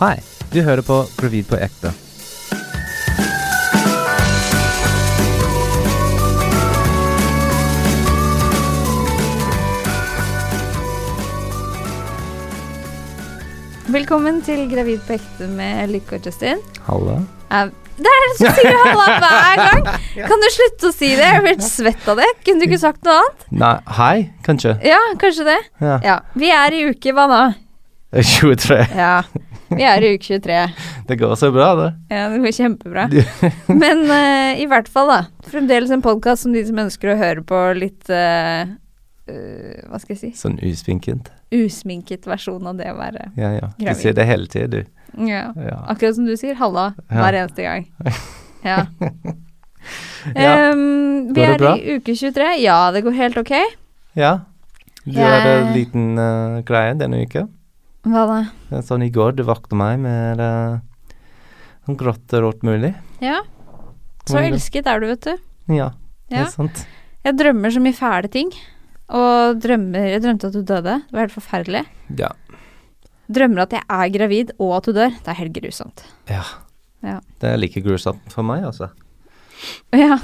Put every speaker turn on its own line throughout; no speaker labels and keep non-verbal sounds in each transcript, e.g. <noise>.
Hei, du hører på Gravid på ekte.
Velkommen til Gravid på ekte med Lykke og Justin.
Halla.
Eh, Det er dere som sier halla hver gang! <laughs> Kan du slutte å si det? Jeg blir helt svett av det. Kunne du ikke sagt noe annet?
Nei, hei, kanskje.
Ja, kanskje det.
Ja.
Ja. Vi er i uke hva nå?
23.
Ja. Vi er i uke 23.
Det går så bra, det.
<laughs> Ja, det går kjempebra. Men eh, i hvert fall, da. Fremdeles en podkast som de som ønsker å høre på litt eh, eh, Hva skal jeg si
Sånn usminket.
Usminket versjon av det å være
Ja, ja. Du
Gravid.
sier det hele tiden, du.
Ja.
Ja.
Akkurat som du sier, halla
Ja.
hver eneste
<laughs>
gang. Ja.
Ja.
Ehm, vi
Går det
er
bra?
i uke 23. Ja, det går helt ok.
ja. Du
Jeg-
hadde en liten eh, greie denne uka.
Hva da?
Eh, Sånn i går, du vakte meg med eh, sånn grått og rått mulig.
Ja. Så
Hvordan går det?
elsket er du, vet du.
Ja, det
Ja.
er sant.
Jeg drømmer så mye fæle ting. Og drømmer Jeg drømte at du døde. Det var helt forferdelig.
Ja.
Drømmer at jeg er gravid og at du dør. Det er helt grusomt. <laughs>
ja.
Ja.
Det er like grusomt for meg, altså.
Ja.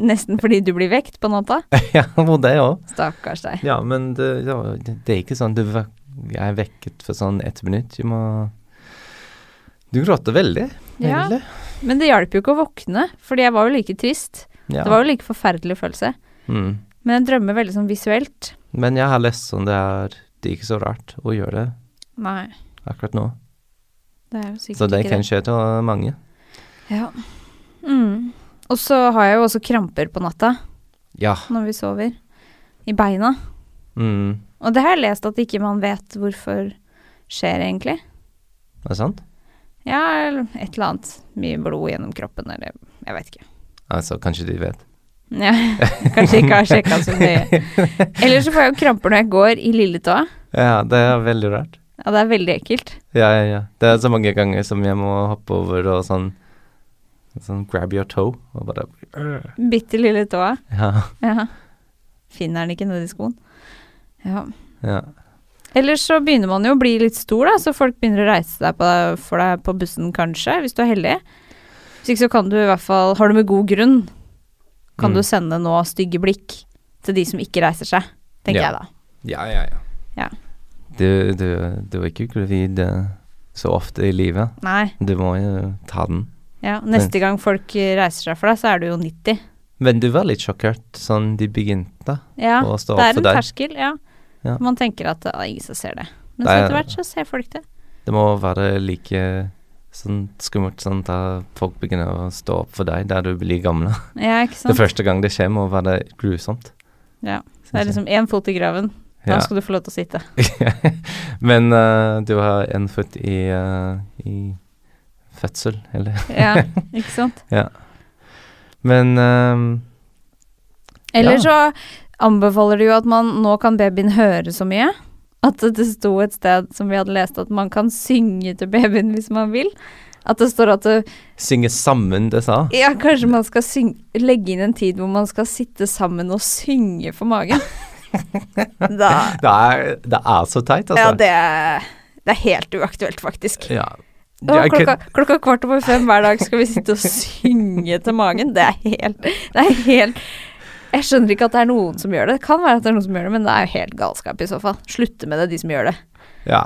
Nesten fordi du blir vekt på natta.
<laughs> ja, og det òg.
Stakkars deg.
Ja, men det, ja, det er ikke sånn du vek- Jeg er vekket for sånn ett minutt. Du må Du gråter veldig,
Ja.
egentlig.
Men det hjalp jo ikke å våkne, fordi jeg var jo like trist.
Ja.
Det var jo like forferdelig følelse.
mm.
Men jeg drømmer veldig sånn visuelt.
Men jeg har lest sånn det er Det er ikke så rart å gjøre det
Nei,
akkurat nå.
det er jo sikkert
Så det
ikke
kan skje til mange.
Ja. Mm. Og så har jeg jo også kramper på natta
Ja.
når vi sover. I beina.
Mm.
Og det har jeg lest at ikke man vet hvorfor skjer, egentlig.
Er det sant?
Ja, eller et eller annet. Mye blod gjennom kroppen, eller jeg vet ikke.
Altså, kanskje de vet.
Ja, <laughs> kanskje ikke har sjekka så nøye. Eller så får jeg jo kramper når jeg går i lilletåa.
Ja, det er veldig rart.
Ja, det er veldig ekkelt.
Ja, ja, ja. Det er så mange ganger som jeg må hoppe over og sånn Sånn grab your toe og bare
Bitte lille tåa.
Ja.
Ja. Finner den ikke nedi skoen. Ja.
ja.
Ellers så begynner man jo å bli litt stor, da, så folk begynner å reise deg på deg, for deg på bussen, kanskje, hvis du er heldig. Hvis ikke så kan du i hvert fall, har du med god grunn, kan
Mm.
du sende nå stygge blikk til de som ikke reiser seg, tenker
Ja.
jeg da.
Ja, ja, ja.
Ja.
Du, du, du er ikke gravid eh, så ofte i livet.
Nei,
Du må jo ta den.
ja, neste gang folk eh, reiser seg for deg, så er du jo 90.
Men du var litt sjokkert sånn de begynte
Ja,
å stå opp
det er
for
en
deg.
terskel, ja.
Ja.
Man tenker at det er ingen som ser det. Men så
Det er-
etter hvert så ser folk det.
Det må være like sånn skummelt sånn at folk begynner å stå opp for deg der du blir
<laughs>
gamle.
Ja, ikke
Det
sant?
første gang det skjer, må være grusomt.
Ja,
synes
Det er
jeg.
liksom én fot i graven, da
Ja.
skal du få lov til å sitte.
<laughs> Men eh, du har en fot i, eh, i fødsel, eller
Ja,
<laughs>
ikke sant?
Men ehm,
Eller
Ja.
så anbefaler de jo at man nå kan babyen høre så mye. At det sto et sted som vi hadde lest, at man kan synge til babyen hvis man vil. At det står at det,
synge sammen, det sa.
ja, kanskje man skal syng, legge inn en tid hvor man skal sitte sammen og synge for <laughs> magen. da
Det er, det er så teit, altså.
Ja, det er, det er helt uaktuelt, faktisk.
Ja.
Å,
Jeg kan-
klokka, klokka kvart over fem hver dag skal vi sitte og synge til magen. Det er helt Det er helt Jeg skjønner ikke at det er noen som gjør det. Det kan være at det er noen som gjør det, men det er jo helt galskap i så fall. Slutte med det, de som gjør det.
ja.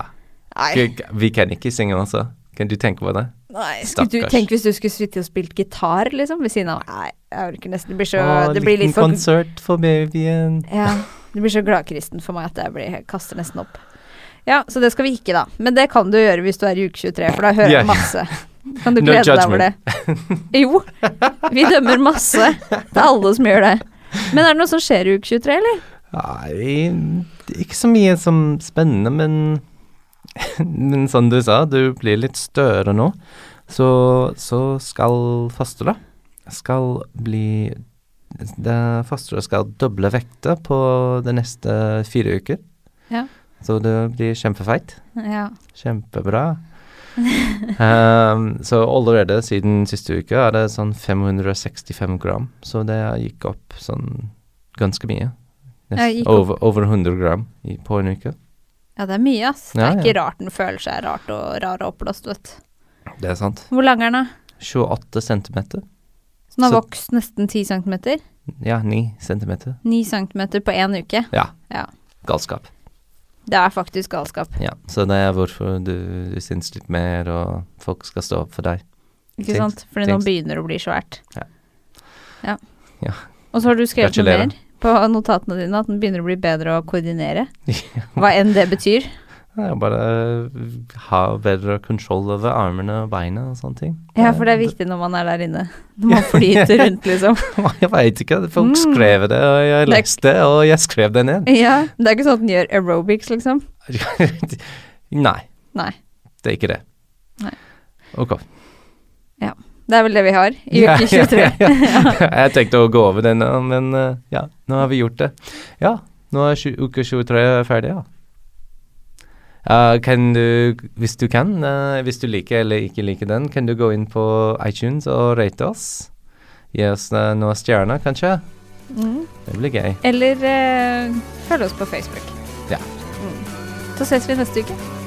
Nei.
K- Vi kan ikke synge, altså. Kan du tenke på det?
nei skulle du,
stakkars.
tenk hvis du skulle sitte og spilt gitar, liksom, ved siden av Nei, jeg orker nesten. Det blir så
Å,
Det blir
liten
litt for
konsert for babyen.
Ja. Det blir så gladkristen for meg at jeg blir, jeg kaster nesten opp. Ja, så det skal vi ikke, da. Men det kan du gjøre hvis du er i uke 23, for da hører
Ja.
du masse. Kan du
No
glede deg over det? Jo, vi dømmer masse. Det er alle som gjør det. Men er det noe som skjer i uke 23, eller?
Nei, det er ikke så mye som spennende, men, <laughs> men som du sa, du blir litt større nå. Så, så skal fastere skal bli det Fastere skal doble vekta på de neste fire uker.
Ja.
Så det blir kjempefeit.
Ja.
Kjempebra. <laughs> Ehm, så allerede siden siste uke er det sånn 565 gram, så det gikk opp sånn ganske mye.
Ja, gikk opp.
over, over 100 gram i, på en uke.
Ja, det er mye, ass. Det
Ja,
er
ja.
ikke rart den føler seg rart og rar og oppblåst, vet du.
Det er sant.
Hvor lang er den, da?
28 centimeter.
Så den har
Så-
vokst nesten 10 cm?
Ja, 9 centimeter.
9 cm på én uke?
Ja.
Ja.
Galskap.
Det er faktisk galskap.
Ja, så det er hvorfor du, du syns litt mer, og folk skal stå opp for deg. <laughs>
Ikke
Tenk-
sant? Fordi nå
tenk-
begynner det å bli svært.
Ja.
Ja.
Ja.
Og så har du skrevet noe
Gratulerer.
mer på notatene dine, at den begynner å bli bedre å koordinere. Hva enn det
<laughs>
betyr.
Det er bare å ha bedre kontroll over armene og beina og sånne ting.
Ja, for det er viktig når man er der inne. Når man flyter
<laughs>
rundt, liksom.
Jeg veit ikke, folk
Mm.
skrev det, og jeg
Det-
leste det, og jeg skrev
<laughs>
det ned.
Ja, Det er ikke sånn at den gjør aerobics, liksom.
Nei,
Nei.
det er ikke det.
Nei.
Ok.
Det er vel det vi har i uke <laughs> 23.
Ja, ja, ja. Jeg tenkte å gå over den, ja, men eh, ja, nå har vi gjort det. Ja, nå er tju- uke 23 ferdig, ja. Eh, kan du, hvis du kan, eh, hvis du liker eller ikke liker den, kan du gå inn på iTunes og rate oss. Gi oss eh, noen stjerner, kanskje.
Mm.
Det blir gøy.
Eller eh, følg oss på Facebook.
Ja.
Mm. Så ses vi neste uke.